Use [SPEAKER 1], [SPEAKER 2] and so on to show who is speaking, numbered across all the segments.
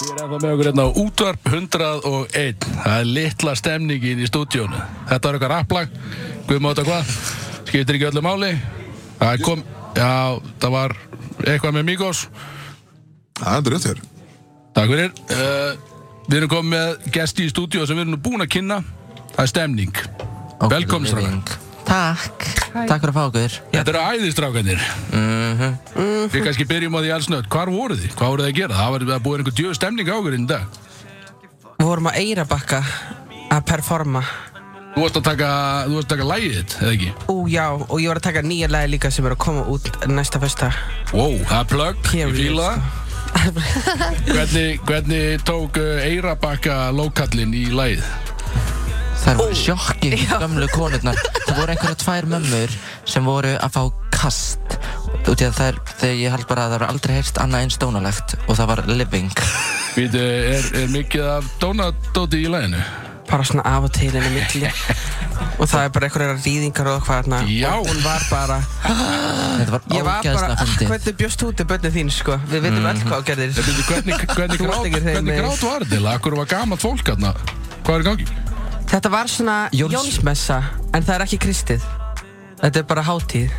[SPEAKER 1] Ég er ennþá með okkur hérna á útvarp 101 Það er litla stemningin í stúdíónu Þetta var eitthvað rapplag Guðum á þetta hvað Skiptir ekki öllu máli Það er kom Já, það var eitthvað með Míkos
[SPEAKER 2] Það er drögt þér
[SPEAKER 1] Takk fyrir uh, Við erum komið með gesti í stúdíó sem við erum nú búin að kynna Það er stemning okay, Velkomin strákar
[SPEAKER 3] Takk, takk fyrir að fá okkur
[SPEAKER 1] Þetta eru æðistrákanir Við kannski byrjum á því alls nött Hvar voru þið? Hvað voru þið að gera? Það var að búið einhver djöð stemning á okkur inn í dag
[SPEAKER 3] Við vorum á Eyrabakka að performa
[SPEAKER 1] Þú varst að taka, þú varst að taka lægið þitt, eða ekki?
[SPEAKER 3] Ú já, og ég var að taka nýja lagi líka sem er að koma út næsta festa
[SPEAKER 1] Wow, það er plug, ég
[SPEAKER 3] Period, sko.
[SPEAKER 1] fíla það. hvernig, hvernig tók uh, Eyrabakka lókallin í lægið?
[SPEAKER 4] Þær voru sjokki, gamlu konurnar. Það voru einhverja tvær mömmur sem voru að fá kast. Út í að þær, þegar ég held bara að það var aldrei heyrst annað eins dónalegt og það var living.
[SPEAKER 1] Vítu, eh, er, er mikið af donadóti í læginu?
[SPEAKER 3] Bara svona af og til henni milli Og það er bara einhverjar rýðingar og hvað hérna
[SPEAKER 1] Já.
[SPEAKER 3] Og hún var bara
[SPEAKER 4] Þetta var
[SPEAKER 3] Ég var bara, "Ah,
[SPEAKER 4] ógæðslega fyndið.
[SPEAKER 3] hvernig bjóst út í börnið þín sko Við veitum öll hvað þú gerðir
[SPEAKER 1] Vítu, Eh, hvernig, hvernig,
[SPEAKER 3] Þú varst
[SPEAKER 1] grát,
[SPEAKER 3] ekki þeim
[SPEAKER 1] hvernig
[SPEAKER 3] með-
[SPEAKER 1] grát var þetta? Akkur var gamalt fólk hérna? Hvað er í gangi?
[SPEAKER 3] Þetta var svona
[SPEAKER 4] Jóls-
[SPEAKER 3] Jónsmessa En það er ekki kristið Þetta er bara hátíð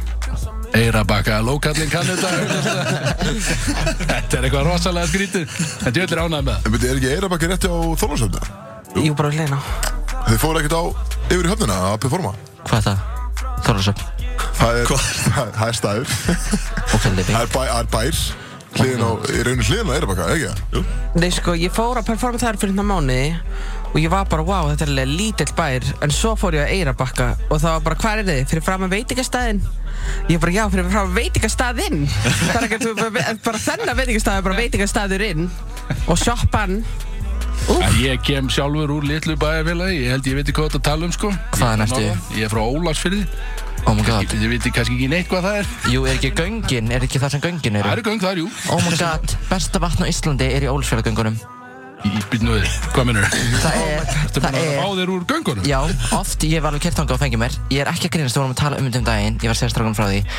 [SPEAKER 1] Eyrabakka lókallin kannu þetta Þetta er eitthvað rosalega skrítið En ég ætlir ánægð með það
[SPEAKER 2] En beti, er ekki Eirabakki rétt á Þorlósöfna?
[SPEAKER 3] Jú, bara hlena
[SPEAKER 2] Þið fóru ekkert á yfir í höfnina að performa
[SPEAKER 4] Hvað er það? Þorlarsöp
[SPEAKER 2] Það er, það það er staður
[SPEAKER 4] og living.
[SPEAKER 2] Það er, bæ, það er bær Hliðin á, í rauninu hliðin á Eirabakka, ekki? Jú
[SPEAKER 3] Nei, sko, ég fór að performa þar fyrir hérna mánuði og ég var bara, wow, þetta er alveg lítill bær en svo fór ég að Eyrabakka og það var bara, hvað er þið? Fyrir fram að veitingastæðin? Ég bara, já, fyrir fram að veitingastæðin Það er ekkert, bara- bara þennan veitingastæð er bara veitingastæðurinn og sjoppan
[SPEAKER 1] En Ég kem sjálfur úr litlu bæjarfélagi Ég held ég veit ekki hvað þetta tala um sko
[SPEAKER 4] Hvaðan
[SPEAKER 1] Ég-
[SPEAKER 4] ertu?
[SPEAKER 1] Ég er frá Ólarsfyrði
[SPEAKER 4] Oh my god.
[SPEAKER 1] Ég, ég veit kannski ekki neitt hvað það er
[SPEAKER 4] Jú, er ekki göngin? Er ekki það sem göngin
[SPEAKER 1] Það
[SPEAKER 4] eru?
[SPEAKER 1] eru göng þar, jú
[SPEAKER 4] Oh my god. Besta vatn á Íslandi er í Ólsfjörðagöngunum.
[SPEAKER 1] Ég býtt nú þig, hvað minnur
[SPEAKER 4] Það er,
[SPEAKER 1] Oh Ertu
[SPEAKER 4] það
[SPEAKER 1] búin að
[SPEAKER 4] er.
[SPEAKER 1] fá þér úr göngunum?
[SPEAKER 4] Já, oft ég var alveg kert þangað og fengið mér Ég er ekki að grínast, við vorum að tala um þetta um daginn Ég var að segja strákunum frá því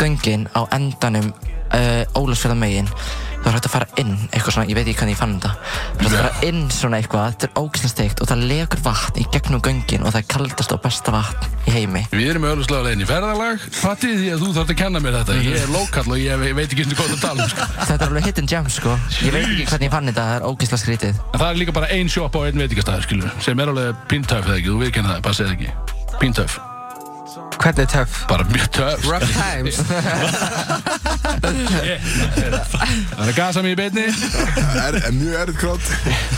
[SPEAKER 4] Göngin á endanum uh, Ólafsfjörðan megin Það var hægt að fara inn, eitthvað svona, ég veit ekki hvernig ég fann þetta Það var hægt að fara inn svona eitthvað, þetta er ógislega steikt Og það legur vatn í gegnum göngin Og það er kaldast og besta vatn í heimi
[SPEAKER 1] Við erum auðvitað leginn í ferðalag Patti því að þú þarft að kenna mér þetta
[SPEAKER 4] Mhm.
[SPEAKER 1] Ég er lokall og ég ve- veit ekki hvernig hvað það tala um sko.
[SPEAKER 4] Þetta er alveg hidden gem sko Ég veit ekki hvernig ég fann þetta, það er ógislega skrítið
[SPEAKER 1] En það er líka bara ein sjoppa og ein veitingastæður skilur Sem er alveg píntöf eða ekki, þú viðkenna það, passið ekki Píntöf,
[SPEAKER 3] Hvernig töff?
[SPEAKER 1] bara mjög töf
[SPEAKER 3] Rough times
[SPEAKER 1] Það er að gasa mig í beinni
[SPEAKER 2] Er, er mjög errið krátt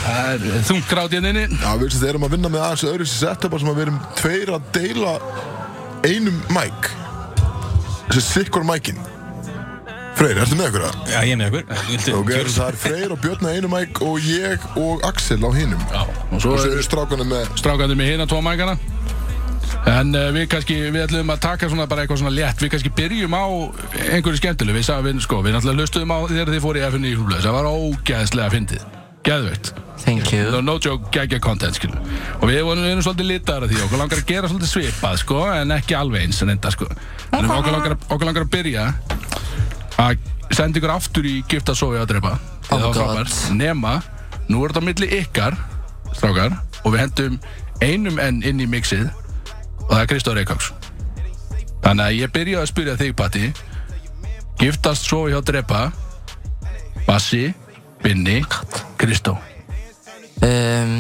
[SPEAKER 1] Það er þungt grát hérna inni
[SPEAKER 2] Já, við veist, erum að vinna með aðeins öðru sér setupar sem að við erum tveir að deila einum mæk Þessi sikkur mækin Freyr, ertu með ykkur það?
[SPEAKER 5] Já, ég er með ykkur. Viltu
[SPEAKER 2] Ok,
[SPEAKER 5] kjörum
[SPEAKER 2] það er Freyr og Björn á einum mæk og ég og Axel á hinum
[SPEAKER 1] Já, og svo
[SPEAKER 2] Og svo
[SPEAKER 1] er
[SPEAKER 2] eru strákunum með
[SPEAKER 1] strákandi með hérna tvo mækana En uh, við kannski, við ætlum að taka svona bara eitthvað svona létt Við kannski byrjum á einhverju skemmtileg Við sagðum, við, sko, við náttúrulega hlustuðum á þegar þið fóru í FNI húblaðis Það var ógeðslega fyndið Geðveikt
[SPEAKER 4] Thank you
[SPEAKER 1] No, no joke, geggja content, skil Og við vorum, við erum svolítið litar að því Okkur langar að gera svolítið svipað, sko En ekki alveg eins, en enda, sko En okkur langar, að- okkur langar að byrja Að senda ykkur aftur í gift að sofa að drepa
[SPEAKER 4] Oh
[SPEAKER 1] Það var
[SPEAKER 4] God.
[SPEAKER 1] frábært. Nema, nú er þetta á milli ykkar Strákar Og við hendum einum enn inn í mixið Og það er Kristóð Reykjáks Þannig að ég byrja að spyrja þig, Patti Giftast sofa hjá drepa Bassi Binni
[SPEAKER 4] Oh
[SPEAKER 1] Kristó
[SPEAKER 4] um,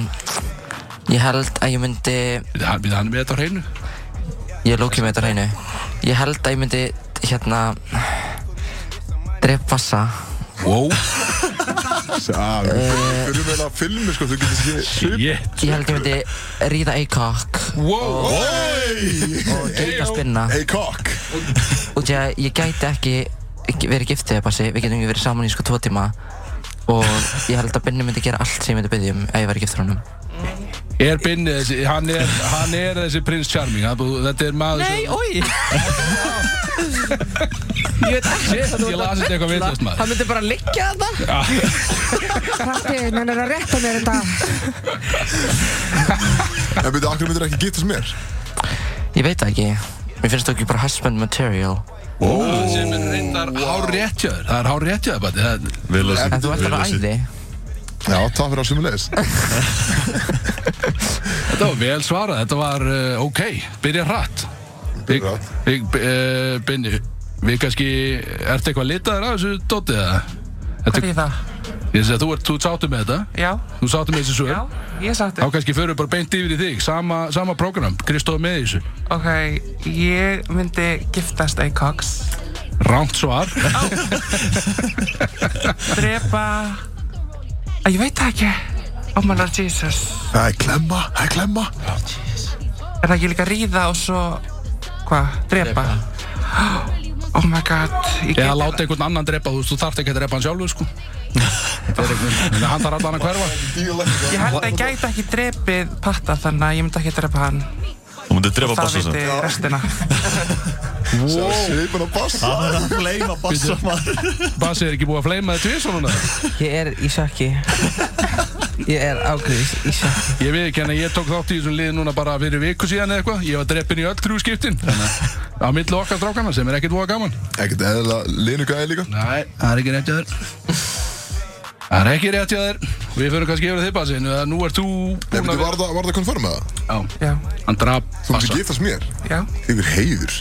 [SPEAKER 4] Ég held að ég myndi
[SPEAKER 1] Við hann, við hann er með þetta á hreinu
[SPEAKER 4] Ég lóki með þetta á hreinu Ég held að ég myndi hérna Dref bassa
[SPEAKER 1] Wow,
[SPEAKER 2] Já, við fyrir með að filmi sko, þú getur ekki svip
[SPEAKER 1] shit
[SPEAKER 4] Ég held að ég myndi ríða A-cock
[SPEAKER 1] Wow,
[SPEAKER 2] Oi!
[SPEAKER 4] og geita spinna
[SPEAKER 2] Hey cock
[SPEAKER 4] Út í að ég gæti ekki ekki verið giftið bassi Við getum ekki verið saman í sko tvo tíma Og ég held að Binni myndi gera allt sem ég myndi byggja um ef ég væri giftur honum
[SPEAKER 1] er Binni þessi, hann er, hann er þessi prins Charming hann- Þetta er maður
[SPEAKER 3] Nei,
[SPEAKER 1] sem-
[SPEAKER 3] oi Ég veit ekki
[SPEAKER 1] Shit, ég las þetta eitthvað vitlaust, maður.
[SPEAKER 3] Það myndi bara liggja þetta
[SPEAKER 6] Patti, menn er að rétta mér þetta
[SPEAKER 2] En byrju, akkur myndir ekki giftast mér
[SPEAKER 4] Ég veit það ekki Mér finnst það ekki bara husband material
[SPEAKER 1] sem er reyndar hár réttjöður Það er hár réttjöður, Bati
[SPEAKER 4] En þú ert alveg æði
[SPEAKER 2] Já, það fyrir á sumulegis
[SPEAKER 1] Þetta var vel svarað, þetta var uh, ok, byrja hratt Byrja
[SPEAKER 2] hratt.
[SPEAKER 1] Big, uh, Binni, við kannski, ertu eitthvað litaður af þessu dótið eða? Þetta,
[SPEAKER 5] Hvað er það?
[SPEAKER 1] ég sé að þú ert, þú sáttu með þetta
[SPEAKER 5] Já,
[SPEAKER 1] Þú sáttu með þessi svör
[SPEAKER 5] já, ég sagt
[SPEAKER 1] Þá
[SPEAKER 5] þér.
[SPEAKER 1] kannski förum við bara beint yfir í þig, sama, sama program, Kristof með í þessu
[SPEAKER 5] Ok, ég myndi giftast A. Cox,
[SPEAKER 1] Rámt svar,
[SPEAKER 5] drepa, að ég veit það ekki, oh my lord Jesus.
[SPEAKER 2] Það er klemma, það er klemma
[SPEAKER 5] Er það ekki líka ríða og svo, hvað, drepa? Oh my god, ég
[SPEAKER 1] eða
[SPEAKER 5] get-
[SPEAKER 1] láta einhvern annan drepa, þú, veist, þú þarft ekki að drepa hann sjálfur sko Þetta er einhvern veginn, hann þarf allan að hverfa
[SPEAKER 5] Ég held að ég gæti ekki drepið patta þannig að ég myndi ekki drepa hann.
[SPEAKER 7] Þú mútið drefa
[SPEAKER 5] Það
[SPEAKER 7] bassa
[SPEAKER 5] viti
[SPEAKER 7] sem
[SPEAKER 5] restina.
[SPEAKER 2] Svipin á bassa
[SPEAKER 7] Það er að fleima bassa maður
[SPEAKER 1] Basi er ekki búið að fleima þetta við svona
[SPEAKER 3] Ég er í sjokki Ég er ágriðis í sjokki
[SPEAKER 1] Ég veit ekki hann að ég tók þátt í þessum liði núna bara fyrir viku síðan eða eitthvað Ég var dreppin í öll þrjú skiptin Þannig að á milli okkar strákana sem er ekkert voða gaman
[SPEAKER 2] Ekkert eðla linu gæði líka
[SPEAKER 1] Nei, það er ekki rétt hjá þér Það er ekki rétt hjá þér Við fyrir kannski yfir að þippa þessi Nú ert þú
[SPEAKER 2] Nei,
[SPEAKER 1] búin
[SPEAKER 2] veitir,
[SPEAKER 1] að
[SPEAKER 2] var það, var það konfirma það?
[SPEAKER 1] Já,
[SPEAKER 5] Já,
[SPEAKER 1] hann draf
[SPEAKER 2] Þú mútti
[SPEAKER 1] Bassa
[SPEAKER 2] giftast mér
[SPEAKER 5] já,
[SPEAKER 2] Þykir heiður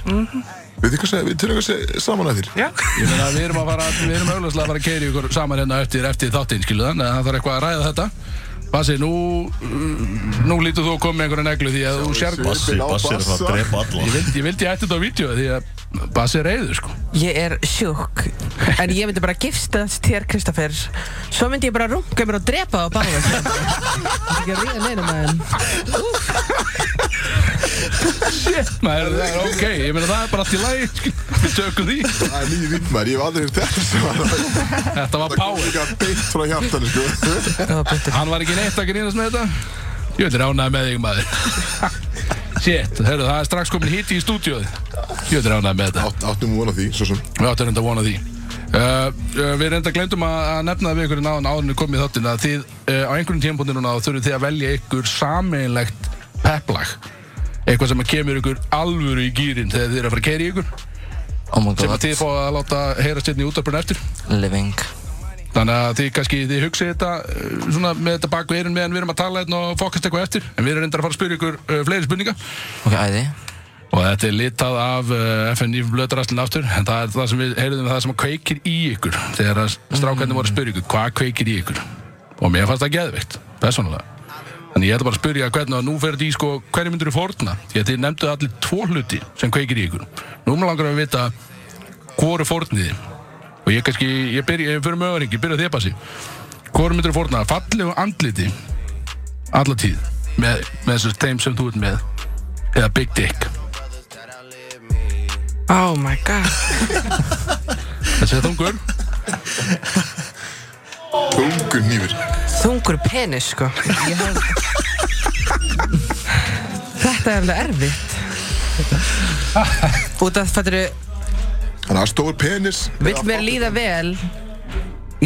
[SPEAKER 2] Við þið hvað segja, við tölum hvað segja saman að þér
[SPEAKER 5] já.
[SPEAKER 1] Ég meina við erum að fara Við erum auðvitað að fara að keiri ykkur saman hérna eftir, eftir þáttinn skiluðan Þannig að það þarf eitthvað að ræða þetta Bassi, nú, uh, nú lítur þú að koma með einhverja neglu því að þú sér
[SPEAKER 7] Bassi,
[SPEAKER 2] Svipinn á
[SPEAKER 7] bassi er að fara að
[SPEAKER 2] bassa.
[SPEAKER 1] Ég
[SPEAKER 7] drepa alla
[SPEAKER 1] vildi, ég vildi ég ætti þetta á vídeo því að Bassi er reyður sko
[SPEAKER 3] Ég er sjúk En ég myndi bara giftast þér, Kristoffer Svo myndi ég bara runga mér og drepa það á barða Það er ekki að ríða neinum að henn
[SPEAKER 1] Maður, það er ok, ég meina það er bara allt í lagi skil- Við tökum því
[SPEAKER 2] Það er nýjum vinn maður, ég hef aldrei heyrt þetta svar
[SPEAKER 1] Þetta var
[SPEAKER 2] Það kom
[SPEAKER 1] power
[SPEAKER 2] líka beint frá hjartan, sko
[SPEAKER 1] Hann var ekki neitt að grínast með þetta Ég vil ránaði með þig maður Shit, hörru, það er strax komin hitti í stúdíóð Ég vil ránaði með þetta
[SPEAKER 2] Átt- Áttum von á því, svo sem
[SPEAKER 1] Við áttum reynda að vona því Uh, uh, við reynda glemdum að, að nefna það við ykkur náðan áðurinn við komum í þáttin að þið uh, á einhverjum tímpóndi núna þá þurfið þið að velja ykkur sameinlegt pepplag eitthvað sem að kemur ykkur alvöru í gýrin þegar þið eru að fara að keira í ykkur
[SPEAKER 4] Oh my
[SPEAKER 1] sem að
[SPEAKER 4] god,
[SPEAKER 1] þið fá að láta heyrast hérna í útarpurinn eftir
[SPEAKER 4] living
[SPEAKER 1] Þannig að þið kannski, þið hugsið þetta uh, svona með þetta baku eyrun meðan við erum að tala hérna og fokast eitthvað eftir en við erum reyndar að fara að spyrja ykkur uh, fleiri spurninga
[SPEAKER 4] Ok, æði
[SPEAKER 1] og þetta er litað af uh, FNI blöðarastlinn aftur en það er það sem við heyrðum það sem að kveikir í ykkur þegar að strákarnir voru að spyrja ykkur hvað kveikir í ykkur og mér fannst það geðveikt, persónulega Þannig ég ætla bara að spyrja hvernig að nú ferði í sko hverju myndur fórna því að þið nefnduð allir tvo hluti sem kveikir í ykkur Nú mér langar að vita hvoru fórniði og ég kannski, ég byrja, ég fyrir með öðringi, byrja þér passi hvoru myndur fórna, fallegu andliti alla tíð með, með þessu þeim sem þú ert með eða Big Dick
[SPEAKER 3] Oh my god
[SPEAKER 1] Þessi er þungur
[SPEAKER 2] Tungur nýfur
[SPEAKER 3] Þungur penis, sko Ég hef Þetta er alveg erfitt Út af fættiru
[SPEAKER 2] Þannig að stór penis
[SPEAKER 3] Vill mér líða vel Í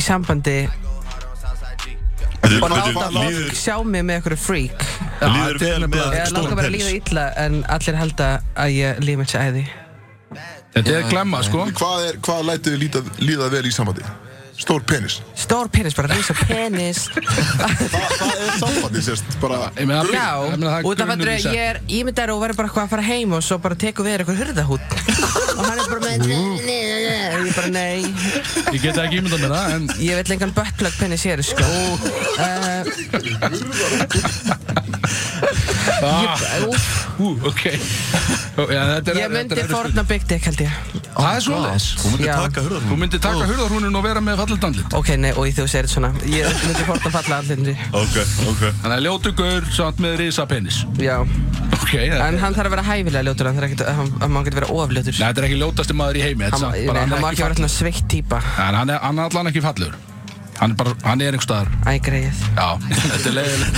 [SPEAKER 3] sambandi
[SPEAKER 7] Bíddu,
[SPEAKER 3] Og
[SPEAKER 7] bíddu,
[SPEAKER 3] láta fólk
[SPEAKER 7] líður-
[SPEAKER 3] sjá mig með einhverju freak
[SPEAKER 7] Líður vel með
[SPEAKER 3] Ég langar
[SPEAKER 7] stóran
[SPEAKER 3] bara að líða
[SPEAKER 7] penis
[SPEAKER 3] illa En allir halda að ég líf mér sér æði
[SPEAKER 1] Þetta er glemma sko
[SPEAKER 2] Hvað er, hvað lætið þið líta- líða vel í sambandi? Stór penis
[SPEAKER 3] Stór penis, bara rísa penis
[SPEAKER 2] Þa, Það er sambandi, sérst, bara
[SPEAKER 1] Ég meina,
[SPEAKER 2] grunn-
[SPEAKER 3] Já,
[SPEAKER 1] Ég meina, það er
[SPEAKER 3] út af
[SPEAKER 1] grunnur í
[SPEAKER 3] að
[SPEAKER 1] sex.
[SPEAKER 3] ég er ímyndar og verður bara eitthvað að fara heim og svo bara tekur við þér eitthvað hurðahút og hann er bara með og ég bara nei
[SPEAKER 1] Ég get ekki ímynda með það en
[SPEAKER 3] ég vil lengan buttplug penis hér sko uh,
[SPEAKER 1] ah, Ú, ok Ó, já, þetta er,
[SPEAKER 3] ég
[SPEAKER 1] þetta
[SPEAKER 3] myndi Oh,
[SPEAKER 1] er-
[SPEAKER 3] forna Big Dick held ég
[SPEAKER 1] Það er svoleiðis
[SPEAKER 7] Þú myndir
[SPEAKER 3] Já.
[SPEAKER 7] taka hurðar
[SPEAKER 1] Þú myndir taka hurðarhúnin og vera með fallit andlit
[SPEAKER 3] ok, nei, og þú segir þetta svona ég myndi forna falla allir
[SPEAKER 7] Ok, ok
[SPEAKER 1] Þannig að ljótu gaur samt með risa penis
[SPEAKER 3] já,
[SPEAKER 1] Ok, þetta
[SPEAKER 3] en
[SPEAKER 1] er-
[SPEAKER 3] hann þarf að vera hæfilega ljótur hann þarf ekki, hann, hann má ekki vera ofljótur
[SPEAKER 1] Nei, þetta er ekki ljótasti maður í heimi þetta er
[SPEAKER 3] hann,
[SPEAKER 1] samt
[SPEAKER 3] nei,
[SPEAKER 1] bara-
[SPEAKER 3] hann má
[SPEAKER 1] hann er
[SPEAKER 3] ekki
[SPEAKER 1] ekki
[SPEAKER 3] vera
[SPEAKER 1] fall-
[SPEAKER 3] svona sveitt típa
[SPEAKER 1] En hann er hann er allan ekki fallur Hann er bara, hann er einhver staðar
[SPEAKER 3] æ, greið
[SPEAKER 1] Já, þetta er leiðilegt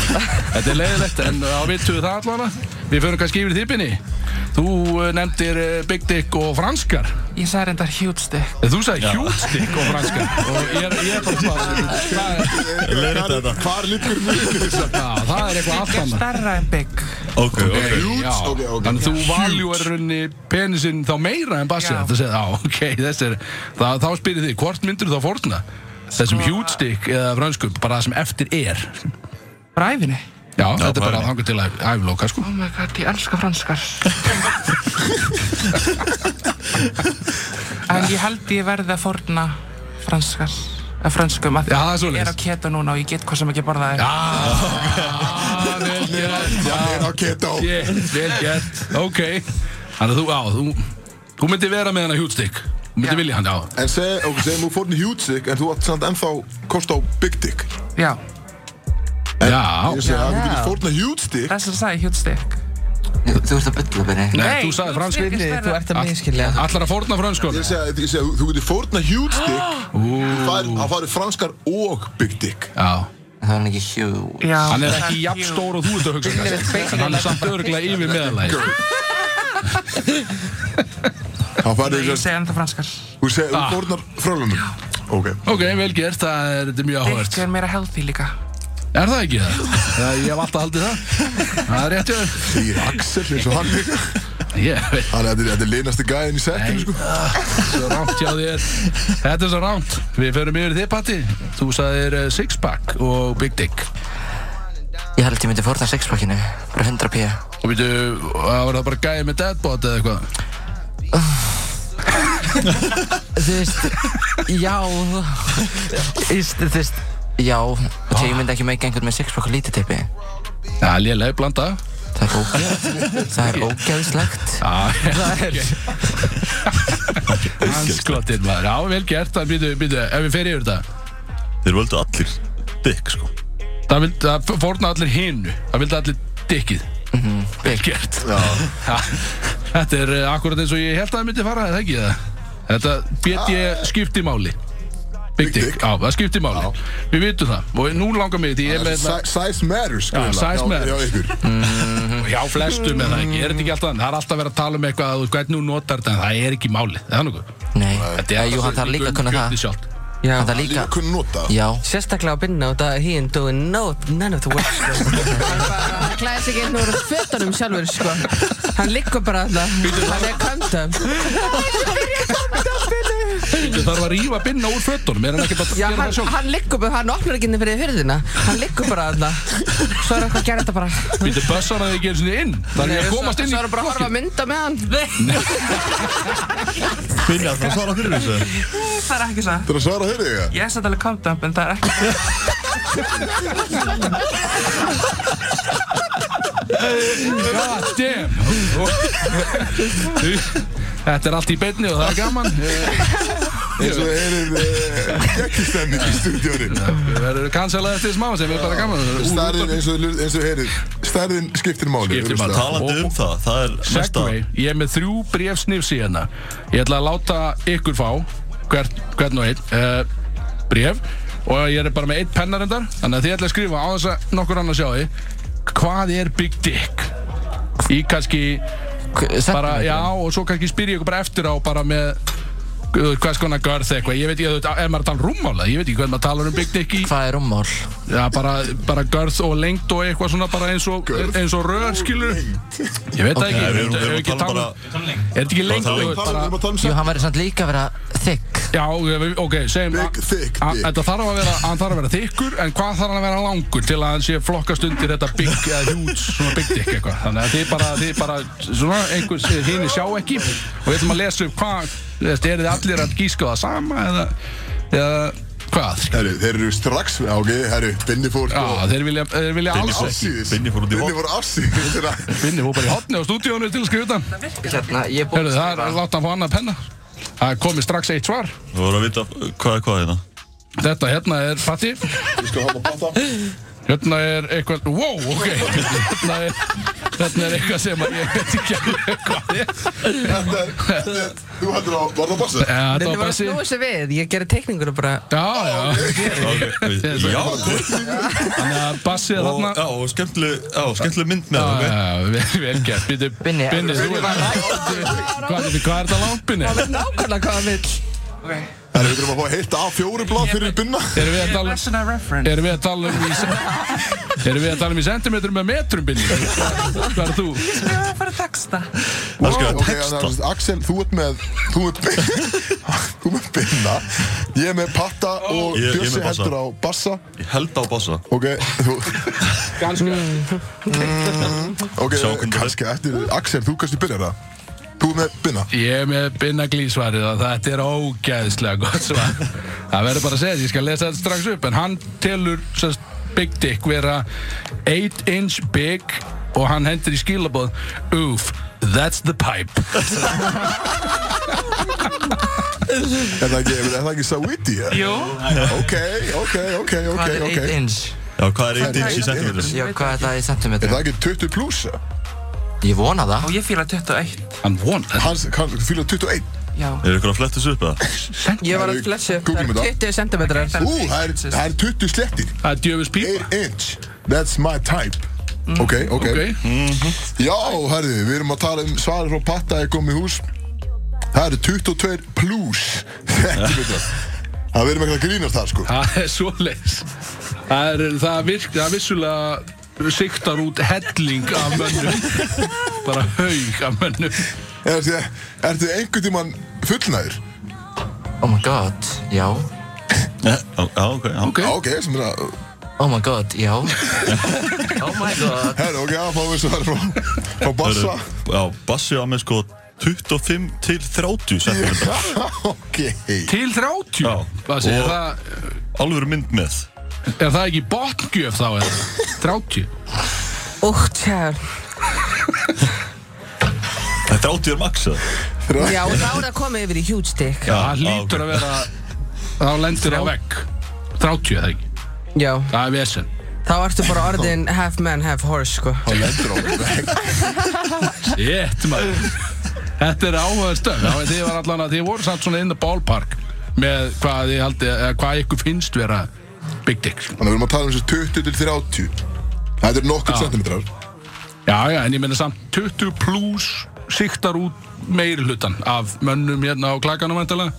[SPEAKER 1] Þetta er leiðilegt, en á vittu það allana Við förum kannski yfir þýpinni Þú eh, nefndir eh, Big Dick og franskar Eh,
[SPEAKER 5] Ég sagði reyndar huge stick.
[SPEAKER 1] Þú sagði hjútstikk og franska og ég er, ég er bara svona það er,
[SPEAKER 7] Leiðir þetta
[SPEAKER 2] Hvar liggur munur þess að
[SPEAKER 1] já, það er eitthvað allt
[SPEAKER 5] Ég er
[SPEAKER 1] annað
[SPEAKER 5] stærra en big.
[SPEAKER 7] Ok, ok
[SPEAKER 1] Já,
[SPEAKER 2] ok, ok.
[SPEAKER 1] þannig þú valjúar runni penisinn þá meira en bassi
[SPEAKER 5] Já.
[SPEAKER 1] þetta segði, á, ok, þess er það, þá spyrir þig, hvort myndur þá fórna þessum hjútstikk eða franskum, bara það sem eftir er
[SPEAKER 5] Bara æfinni
[SPEAKER 1] Já, þetta er
[SPEAKER 7] bara
[SPEAKER 1] bara
[SPEAKER 7] þannig.
[SPEAKER 1] þangur til að æfloka sko
[SPEAKER 5] Oh my god, ég elska franskar En ég held ég verði að forna franskar að franskum að
[SPEAKER 1] Já, það er
[SPEAKER 5] ég
[SPEAKER 1] svoleiðis.
[SPEAKER 5] er á keto núna og ég get hvað sem ekki borða þér
[SPEAKER 1] Já, vel gert
[SPEAKER 2] Já, ég er á keto
[SPEAKER 1] Shit, Vel gert, ok Þannig að þú, á, þú Þú myndir vera með hana hjútstikk Þú myndir
[SPEAKER 5] Já.
[SPEAKER 1] vilja hann, já
[SPEAKER 2] En seg, ok, segjum þú fórn í huge dick En þú átt samt ennþá kost á big dick
[SPEAKER 5] Já,
[SPEAKER 1] Já,
[SPEAKER 2] Ég segi að þú getur fórn í huge dick
[SPEAKER 5] þess að sagði hjútstikk
[SPEAKER 4] Þú þú ert að bylla byrni.
[SPEAKER 1] nei,
[SPEAKER 5] Nei,
[SPEAKER 1] þú sagði fransk
[SPEAKER 5] hjútstikk er
[SPEAKER 3] Vinni, þú
[SPEAKER 5] stærra.
[SPEAKER 3] ert að miskilja
[SPEAKER 1] Allar að fórna franskum
[SPEAKER 2] Ég segi að ég segi að þú getur fórn í huge dick Það fær- það farið franskar og big dick
[SPEAKER 1] Já
[SPEAKER 4] Það var ekki hjú.
[SPEAKER 5] Já,
[SPEAKER 1] Hann er
[SPEAKER 5] það
[SPEAKER 1] ekki jafn
[SPEAKER 5] huge.
[SPEAKER 1] stór og þú ert að hugsa kannski. En hann er samt örglega yfir meðalæg
[SPEAKER 2] Það
[SPEAKER 5] Nei,
[SPEAKER 2] farið
[SPEAKER 5] Ég segi ennþá franskar
[SPEAKER 2] Þú segi að
[SPEAKER 1] Ah.
[SPEAKER 2] þú fórnar frölunum Ok
[SPEAKER 1] Ok, vel gert, það er, þetta er mjög áhört
[SPEAKER 5] Eitt er meira healthy líka
[SPEAKER 1] Er það ekki það? Það- Ég hef alltaf haldið það Það er rétt hjá þér.
[SPEAKER 2] Segir Axel eins og hann
[SPEAKER 1] Ég veit
[SPEAKER 2] Þannig að þetta er- þetta er linasti gæðin í
[SPEAKER 1] Nei,
[SPEAKER 2] settinu sko
[SPEAKER 1] ah, svo rámt hjá þér Þetta er svo rámt Við förum yfir þig Patti Þú sagðir uh, Sixpack og Big Dick
[SPEAKER 4] Ég held ég myndi fórna sexpakkinu. Bara 100 p.
[SPEAKER 1] Og veitu, það var það bara gæði með deadbot eða eitthvað
[SPEAKER 4] Þú veist, já. Þú veist, þú veist, já. Og því ég myndi ekki meika einhvern með sexpakk og lítið tippi.
[SPEAKER 1] Já, lélega blanda
[SPEAKER 4] Það er ógeð. Það er ógeðslegt.
[SPEAKER 1] Það er Hanskotinn maður Já, vel gert Það býtu, býtu, ef við fer yfir þetta
[SPEAKER 7] Þeir völdu allir dick sko
[SPEAKER 1] Það, vild, það fórna allir hinu Það vildi allir dikkið
[SPEAKER 4] Mhm.
[SPEAKER 1] Vel gert Ha, Þetta er uh, akkurat eins og ég held að það myndi fara eða ekki það Þetta bet
[SPEAKER 4] Ah.
[SPEAKER 1] ég skipti máli Big Dick, á, það skipti máli Við vitum það og nú langar mig því ég er með
[SPEAKER 2] Si- sko. Size matters
[SPEAKER 1] Já,
[SPEAKER 2] greinilega.
[SPEAKER 1] size
[SPEAKER 2] Já,
[SPEAKER 1] matters.
[SPEAKER 2] Já, ykkur
[SPEAKER 1] hjá flestum eða ekki, er þetta ekki alltaf það er alltaf verið að tala um eitthvað að þú hvernig þú notar þetta en það er ekki máli, það er nokkuð
[SPEAKER 4] Nei. Já, jú, hann þarf líka að kunna það.
[SPEAKER 1] sjálft.
[SPEAKER 3] Já.
[SPEAKER 4] Hann þarf
[SPEAKER 2] Líka
[SPEAKER 4] líka,
[SPEAKER 2] kunn nota
[SPEAKER 4] já.
[SPEAKER 3] Sérstaklega á binna og það he ain't doing no, none of the work sko. Hann bara klæði sig einn úr fötunum sjálfur sko. Hann liggur bara alltaf Hann er kandum
[SPEAKER 1] Þú þarf að rífa binna úr fötunum er hann ekki bara að
[SPEAKER 3] Já,
[SPEAKER 1] gera
[SPEAKER 3] hann,
[SPEAKER 1] það sjálf
[SPEAKER 3] hann liggur bara, hann opnar ekki inn fyrir hurðina Hann liggur bara alltaf Svo er eitthvað að gera þetta bara
[SPEAKER 1] býttu bussar að þið gerir sinni inn það er ekki að
[SPEAKER 3] Svo-
[SPEAKER 1] komast inn
[SPEAKER 3] Svo
[SPEAKER 1] í
[SPEAKER 3] er bara að horfa að mynda með hann
[SPEAKER 7] Finn ég að það svara fyrir þessu
[SPEAKER 5] Það er ekki það
[SPEAKER 2] Þú er að svara þeirri þegar
[SPEAKER 5] Ég er satt alveg calm down, en það er ekki
[SPEAKER 1] God damn Þetta er allt í beinni og það er gaman
[SPEAKER 2] Eins og þeirri gekkistemning í stúdíónu
[SPEAKER 1] Við verðum kansalað eftir smá sem er bara gaman
[SPEAKER 2] Stærðin eins og þeirri eins og þeirri Stærðin skiptir máli
[SPEAKER 1] Skiptir máli.
[SPEAKER 2] augljóslega.
[SPEAKER 7] Talandi um það, það er næsta
[SPEAKER 1] Segway, ég er með þrjú brefsnifs í hérna Ég ætla að láta ykkur fá hvern, hvern og einn uh, bref og ég er bara með eitt pennarendar þannig að þið ætla að skrifa á þess að nokkur annar sjá þið hvað er Big Dick í kannski bara, já, og svo kannski spyr ég ykkur bara eftir á bara með uh, hvers konar görð eitthvað, ég veit ekki, þú veit, ef maður talar rúmmála ég veit ekki hvernig maður talar um Big Dick í
[SPEAKER 4] Hvað er ummál?
[SPEAKER 1] Já, bara, bara görð og lengt og eitthvað svona bara eins og, eins og rör, skilur Ég veit það ekki,
[SPEAKER 7] Nei,
[SPEAKER 1] ég
[SPEAKER 7] við erum- við
[SPEAKER 1] hef
[SPEAKER 7] erum
[SPEAKER 1] ekki
[SPEAKER 7] að
[SPEAKER 1] tala
[SPEAKER 7] tala
[SPEAKER 1] um-
[SPEAKER 7] bara-
[SPEAKER 1] Er þetta ekki lengt
[SPEAKER 7] Bara
[SPEAKER 1] og
[SPEAKER 7] lengt.
[SPEAKER 2] Talandi- við
[SPEAKER 1] bara
[SPEAKER 2] erum að tala um
[SPEAKER 4] Jú,
[SPEAKER 2] sex.
[SPEAKER 4] hann verður samt líka að vera þykk.
[SPEAKER 1] Já, við- ok, segjum
[SPEAKER 2] Big thick
[SPEAKER 1] að-
[SPEAKER 2] dick.
[SPEAKER 1] Þetta þarf að vera, hann þarf að vera þykkur En hvað þarf hann að vera langur til að hann sé flokkast undir þetta big, eða huge, svona big dick eitthvað Þannig að þið bara, þið bara, svona, einhvers, hini sjá ekki Og við ætlum að lesa upp hvað, þú veist, eru þið allir að gíska á það sama eða, eða, hvað,
[SPEAKER 2] Herru, þeir eru strax Já, ok, herru, Binni fór
[SPEAKER 1] Já,
[SPEAKER 2] sko
[SPEAKER 1] þeir vilja, þeir vilja alls
[SPEAKER 7] fór-
[SPEAKER 1] ekki
[SPEAKER 2] Afsíðis
[SPEAKER 7] Binni fór út í
[SPEAKER 2] Binni
[SPEAKER 7] vopn.
[SPEAKER 2] fór afsíðis Þeir að-
[SPEAKER 1] Vinni fór bara í hotni á stúdíónu til að skrifa utan
[SPEAKER 4] Hérna, ég er búinn
[SPEAKER 1] Hörru,
[SPEAKER 4] að
[SPEAKER 1] það er
[SPEAKER 4] skrifa.
[SPEAKER 1] látt hann fá annað penna Það er komið strax eitt svar
[SPEAKER 7] Þú voru að vita uh, hvað er hvað hérna
[SPEAKER 1] Þetta hérna er Patti
[SPEAKER 2] Ég skal hafa bata
[SPEAKER 1] Hérna er eitthvað Wow, ok Hérna er, hérna er eitthvað sem að ég veit ekki alveg hvað er
[SPEAKER 2] Þetta er- þetta er- Þú heldur að Var það basta?
[SPEAKER 1] Já, þetta
[SPEAKER 3] Vinni
[SPEAKER 1] var
[SPEAKER 3] var
[SPEAKER 1] bara
[SPEAKER 3] að
[SPEAKER 1] síðan
[SPEAKER 3] snúa sér við Ég gerði teikningur og bara
[SPEAKER 1] Já, já,
[SPEAKER 7] okay.
[SPEAKER 1] Þetta er
[SPEAKER 7] Já,
[SPEAKER 1] þannig að Bassi er
[SPEAKER 7] og,
[SPEAKER 1] þarna
[SPEAKER 7] já, og skemmtileg, já, skemmtileg mynd með það, ok?
[SPEAKER 1] Já, vel, vel gert, býttu
[SPEAKER 4] Binni,
[SPEAKER 1] Binni, þú er Hvað hvað er þetta langt, Binni?
[SPEAKER 3] Nákvæmlega hvað hann vill
[SPEAKER 5] það
[SPEAKER 2] Þannig við þurfum að fá heilt A4 blad fyrir bunna
[SPEAKER 1] Erum við að tala
[SPEAKER 5] Lesson I reference
[SPEAKER 1] Erum við að tala um í se- Erum við að tala um í sentimetrum með metrum binni Hvað er þú?
[SPEAKER 5] Ég var að fara að texta
[SPEAKER 7] Það er skrifað
[SPEAKER 2] Ok,
[SPEAKER 7] texta
[SPEAKER 2] þannig að Axel, þú ert með Þú ert með Þú ert með binna Ég er með patta og
[SPEAKER 7] Ég- ég er með
[SPEAKER 2] Bjössi
[SPEAKER 7] bassa.
[SPEAKER 2] heldur á bassa
[SPEAKER 7] Ég held á bassa
[SPEAKER 2] Ok, þú
[SPEAKER 1] Ganska
[SPEAKER 3] Mm.
[SPEAKER 2] Ok,
[SPEAKER 7] Sjá hvernig
[SPEAKER 2] kannski eftir Axel, þú kannski byrjar það Þú ert með binna
[SPEAKER 1] Ég er með binna glísvarið og þetta er ógæðslega gott svar Það verður bara að segja, ég skal lesa þetta strax upp En hann telur sest, Big Dick vera 8 inch big Og hann hendur í skilabóð Oof, that's the pipe
[SPEAKER 2] Er það ekki, er það ekki Sawiti? Jú Ok, ok, ok, ok,
[SPEAKER 4] Hvað er
[SPEAKER 2] ok
[SPEAKER 4] 8 inch?
[SPEAKER 7] Já, hvað er 1 inch í centimetrum?
[SPEAKER 4] Já, hvað er það í
[SPEAKER 2] Er
[SPEAKER 4] centimeter?
[SPEAKER 2] það ekki 20 pluss?
[SPEAKER 4] Ég vona það
[SPEAKER 5] Og ég fýla 21
[SPEAKER 1] Hann von,
[SPEAKER 2] Hans, hann fylgir 21
[SPEAKER 5] Já
[SPEAKER 7] Er ykkur að fletta þessu upp eða?
[SPEAKER 3] Ég var að flessu upp,
[SPEAKER 2] Googlum
[SPEAKER 3] það
[SPEAKER 2] þetta.
[SPEAKER 3] er 20 centimetrar
[SPEAKER 2] Ú, það er, það er 20 slettir
[SPEAKER 1] það er djöfus pípa
[SPEAKER 2] 8 inch, that's my type Ok, ok,
[SPEAKER 1] Ok,
[SPEAKER 2] Já, herðu, við erum að tala um svarið frá Patta er komið í hús Það eru 22 pluss centimetrar Það verðum ekkert að grínast þar sko
[SPEAKER 1] það er svoleiðis Það er, það virk, það vissulega siktar út helling af mönnum Bara haug af mönnum
[SPEAKER 2] Ertu, ertu einhvern tímann fullnæður?
[SPEAKER 4] Oh my god, já
[SPEAKER 7] Já, já, ok, já
[SPEAKER 1] Ok,
[SPEAKER 2] Já, ok, sem er að
[SPEAKER 4] Oh my god, já Oh my god
[SPEAKER 2] Herðu, ok, að fáum við svarið frá, frá Bassa
[SPEAKER 7] Já, bassi á með sko 25 til 30 centimetrum
[SPEAKER 2] Ok
[SPEAKER 1] til 30
[SPEAKER 7] Já.
[SPEAKER 1] Hvað segir
[SPEAKER 7] Og-
[SPEAKER 1] það?
[SPEAKER 7] Alvöru mynd með
[SPEAKER 1] Er það ekki botngjöf þá eða? 30
[SPEAKER 3] Úh, tjá
[SPEAKER 7] Það er 30 er maxa
[SPEAKER 3] Já, og þá er það komið yfir í huge dick
[SPEAKER 1] Það lítur að vera Þá lendir á vegg 30 eða ekki
[SPEAKER 3] Já,
[SPEAKER 1] Það er vesen
[SPEAKER 3] þá ertu bara orðin half man, half horse, sko
[SPEAKER 2] Þá lendur á vegg
[SPEAKER 1] Jétt maður Þetta er áhugaður stöð Já, en Þið var allan að þið voru samt svona inn á ballpark Með hvað þið haldið eða Hvað ykkur finnst vera Big Dick sko.
[SPEAKER 2] Þannig að við erum að tala um þessi 20 til 30 Það eru nokkur centimetrar
[SPEAKER 1] Já, já, en ég meina samt 20 pluss Siktar út meiri hlutan Af mönnum hérna á klakanum vantilega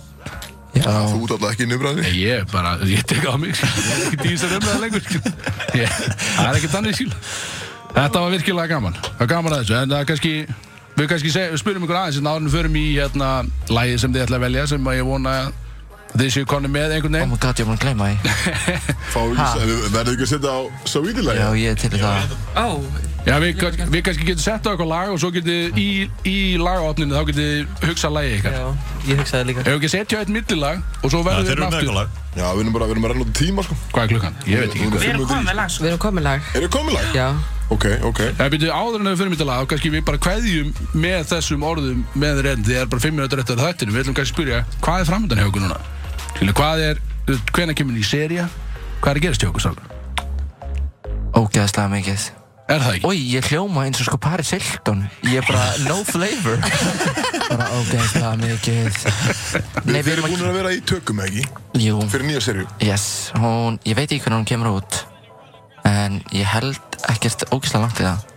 [SPEAKER 2] Þú ert alltaf ekki í nýmræðinni
[SPEAKER 1] Ég er bara, ég tek á mig Ég er ekki dýsar um það lengur ég, Það er ekki þannig skil Þetta var virkilega gaman Það var gaman að þessu En það er kannski Við kannski seg, spyrum ykkur aðeins En árunum förum í hérna Lægið sem þið ætla að velja Sem að ég vona að Þið séu konni með einhvern
[SPEAKER 4] Oh
[SPEAKER 1] veginn
[SPEAKER 4] my god, ég er búin að gleyma því
[SPEAKER 2] Fá ekki, við verðum ekki að setja á
[SPEAKER 4] Já,
[SPEAKER 2] Savítilægi
[SPEAKER 4] ég er til í það
[SPEAKER 5] Ó
[SPEAKER 1] Já, við, kann- við kannski getum sett á eitthvað lag Og svo getið í, í lagaopninu Þá getið hugsað lægið ykkar
[SPEAKER 3] Já, ég hugsaði líka
[SPEAKER 1] Ef við ekki setja eitt millilag Og svo
[SPEAKER 7] Það
[SPEAKER 1] verðum við
[SPEAKER 7] þeir eru með
[SPEAKER 1] aftur
[SPEAKER 7] eitthvað lag
[SPEAKER 2] Já, við erum bara, við erum að renna út í tíma sko
[SPEAKER 1] Hvað er klukkan? Ég veit ekki
[SPEAKER 5] Við erum komið með lag sko
[SPEAKER 3] Við erum komið lag
[SPEAKER 2] Er það komið lag?
[SPEAKER 3] Já,
[SPEAKER 2] Ok, ok
[SPEAKER 1] Það byrju áður en við fyrir mitt að laga og kannski við bara kveðjum með þessum orðum með þér enn því það er bara 5 minútur eftir þættinu við ætlum kannski að spyrja hvað er framöndan hjá okkur núna Skilu, hvað er, hvenær kemur ný seria hvað er að gerast hjá okkur sálega
[SPEAKER 4] Ógeðslega mikið
[SPEAKER 1] Er það ekki?
[SPEAKER 4] Oj, ég hljóma eins og sko Paris Hilton Ég er bara no flavor Bara ógeðslega mikið Nei,
[SPEAKER 2] Við
[SPEAKER 4] við
[SPEAKER 2] erum
[SPEAKER 4] erum
[SPEAKER 2] búin að vera í tökum, ekki?
[SPEAKER 4] að Jú,
[SPEAKER 2] Fyrir nýja serju.
[SPEAKER 4] yes, hún Ég veit ekki hvernig hún kemur út En ég held ekkert ógeðslega langt í það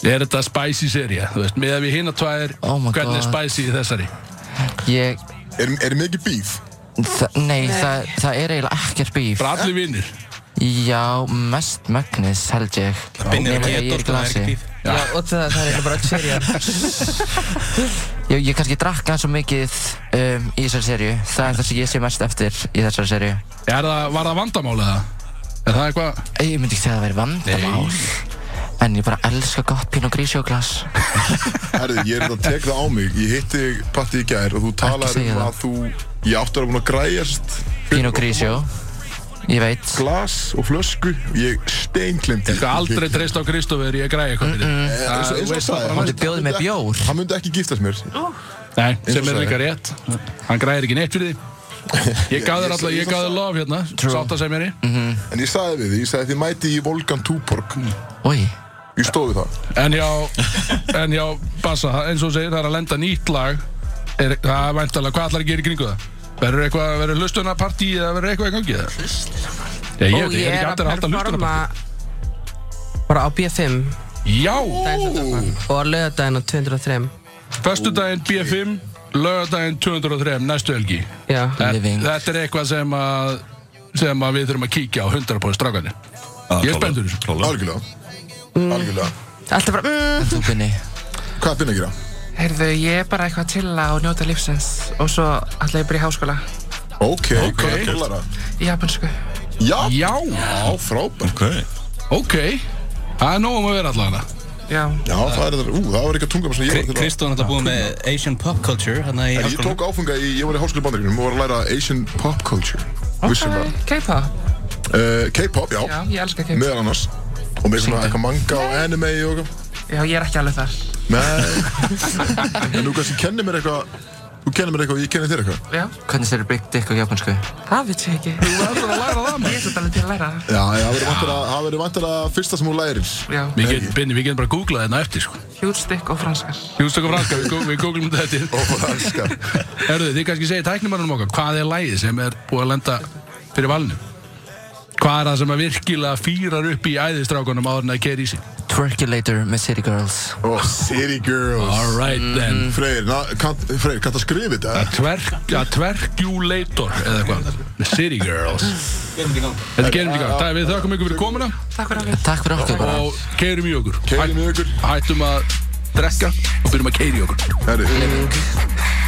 [SPEAKER 1] Er þetta spicy seria? Þú veist, með að við hinna tvær
[SPEAKER 4] Oh my
[SPEAKER 1] hvernig er
[SPEAKER 4] God.
[SPEAKER 1] spicy í þessari?
[SPEAKER 4] Ég,
[SPEAKER 2] Erum, erum við ekki bíf?
[SPEAKER 4] þa nei, það, það er eiginlega ekkert bíf
[SPEAKER 1] Bara allir vinnir
[SPEAKER 4] Já, mest mögnis held ég
[SPEAKER 8] Binnir
[SPEAKER 4] Nema
[SPEAKER 8] að
[SPEAKER 4] ég
[SPEAKER 8] geta og það er
[SPEAKER 4] er í glasi
[SPEAKER 8] ekki bíf.
[SPEAKER 3] já og það, það er bara öll serið
[SPEAKER 4] Ég, ég kannski drakk aðeins svo mikið um, í þessari serju Það er það sem ég sé mest eftir í þessari serju
[SPEAKER 1] Er það, var það vandamál eða? Er það eitthvað?
[SPEAKER 4] Ég myndi ekki segja að það veri vandamál En ég bara elska gott pín og grísjóklas
[SPEAKER 2] Herði, ég er þetta að tek það á mig. Ég hitti þig, Patti í gær og þú talar
[SPEAKER 4] segja
[SPEAKER 2] um
[SPEAKER 4] það.
[SPEAKER 2] að þú... Ég átti að vera búin að græjast
[SPEAKER 4] Pín og grísjó Ég veit
[SPEAKER 2] glas og flösku. Ég steinklimti.
[SPEAKER 1] Ég skal aldrei treyst á Kristófur, ég græði eitthvað fyrir þig.
[SPEAKER 2] Eh, eins og- eins og
[SPEAKER 1] veist
[SPEAKER 2] sagði,
[SPEAKER 1] það
[SPEAKER 2] hann
[SPEAKER 1] bara
[SPEAKER 4] Þú
[SPEAKER 2] myndi- hann
[SPEAKER 4] bjóði með
[SPEAKER 2] myndi-
[SPEAKER 4] bjór
[SPEAKER 2] Hann myndi ekki giftast mér.
[SPEAKER 1] Nei, sem
[SPEAKER 2] og
[SPEAKER 1] er
[SPEAKER 2] sagði.
[SPEAKER 1] líka rétt Hann græðir ekki neitt fyrir því Ég gaf þér
[SPEAKER 2] ég-
[SPEAKER 1] alltaf,
[SPEAKER 2] ég-
[SPEAKER 1] ég gaf þér lof hérna Sátt að segja mér í
[SPEAKER 2] En ég sagði við því, ég sagði þið mæti í Volgan Túborg.
[SPEAKER 4] Úi,
[SPEAKER 2] Ég stóði það.
[SPEAKER 1] En já, en já, Bassa, það- eins og þú segir, það er að lenda nýtt lag er, Það er væntalega, hvað ætlar að gera í kringu það? Verður eitthvað, verður hlustunarpartí eða verður eitthvað í gangi það? Já, ég,
[SPEAKER 3] Og
[SPEAKER 1] veit, ég er ekki alltaf að halda hlustunarpartí
[SPEAKER 3] bara á B5
[SPEAKER 1] Já,
[SPEAKER 3] daginn sem þetta var. og að löða daginn á 203
[SPEAKER 1] föstudaginn B5 lögadaginn 203 næstu helgi
[SPEAKER 3] Já.
[SPEAKER 1] þetta,
[SPEAKER 4] Living.
[SPEAKER 1] þetta er eitthvað sem að sem að við þurfum að kíkja á 100% strákandi Ég er spenntur í þessu.
[SPEAKER 7] þessu
[SPEAKER 2] Algjörlega Algjörlega
[SPEAKER 3] Alltaf bara, mm,
[SPEAKER 4] Þú Gunni,
[SPEAKER 2] Hvað er þinn að gera?
[SPEAKER 5] Heyrðu, ég er bara eitthvað til að njóta lífsins og svo ætla ég að byrja í háskóla
[SPEAKER 2] Ok, hvað er kólara?
[SPEAKER 5] í japansku.
[SPEAKER 2] Já, já,
[SPEAKER 1] Já,
[SPEAKER 2] frábær
[SPEAKER 7] Ok,
[SPEAKER 1] ok Það er nóg um að vera allavega
[SPEAKER 5] Já,
[SPEAKER 2] Já, það er það, ú, það var eitthvað tungum sem ég var til að
[SPEAKER 8] Kristó er náttúrulega búið með Asian Pop Culture hérna í
[SPEAKER 2] En ég
[SPEAKER 8] háskólanum.
[SPEAKER 2] tók áfunga í, ég var í háskóla bandaríkunum og var að læra Asian pop culture Vissum það
[SPEAKER 5] K-pop.
[SPEAKER 2] uh, K-pop, já,
[SPEAKER 5] Já, ég elska K-pop.
[SPEAKER 2] meðal annars Og með svona eitthvað manga og anime og eitthvað
[SPEAKER 5] Já, ég er ekki alveg þar.
[SPEAKER 2] Nei En þú kannski kennir mér eitthvað Þú kennir mér eitthvað og ég kennir þér eitthvað
[SPEAKER 5] Já,
[SPEAKER 4] hvernig styrir Big Dick á japansku?
[SPEAKER 5] það veit ég ekki. Þú verður að læra það, maður. Ég er svolítið alveg til að læra það.
[SPEAKER 2] Já, já, það verður vantar að- það verður vantar að fyrsta sem þú lærir
[SPEAKER 5] Já,
[SPEAKER 1] Við getum Binni, við getum bara að googla þetta eftir sko.
[SPEAKER 5] hjúlstykk og franskar.
[SPEAKER 1] Hjústöku franska, við, gó- við googlum þetta eftir
[SPEAKER 2] Og franska
[SPEAKER 1] Herðu, þið kannski segir tæknumannum okkar Hvað er lægið sem er búið að lenda fyrir valinu? Hvað er það sem að virkilega fýrar upp í æðistrákunum áður en að keira í sig?
[SPEAKER 4] Twerkulator með City Girls.
[SPEAKER 2] Og City Girls
[SPEAKER 1] Alright then
[SPEAKER 2] Freyr, na, kann, Freyr, kannst að skrifa þetta?
[SPEAKER 1] Mm. Tverk, ja, tverkjulator eða eitthvað City Girls Þetta gerum við í gang Það er við þökkum ykkur fyrir komuna
[SPEAKER 5] Takk fyrir að við.
[SPEAKER 4] Takk fyrir okkur bara.
[SPEAKER 1] og keirum í okkur
[SPEAKER 2] Keirum í okkur.
[SPEAKER 1] Hættum að drekka og byrjum að keira í okkur
[SPEAKER 2] Herri,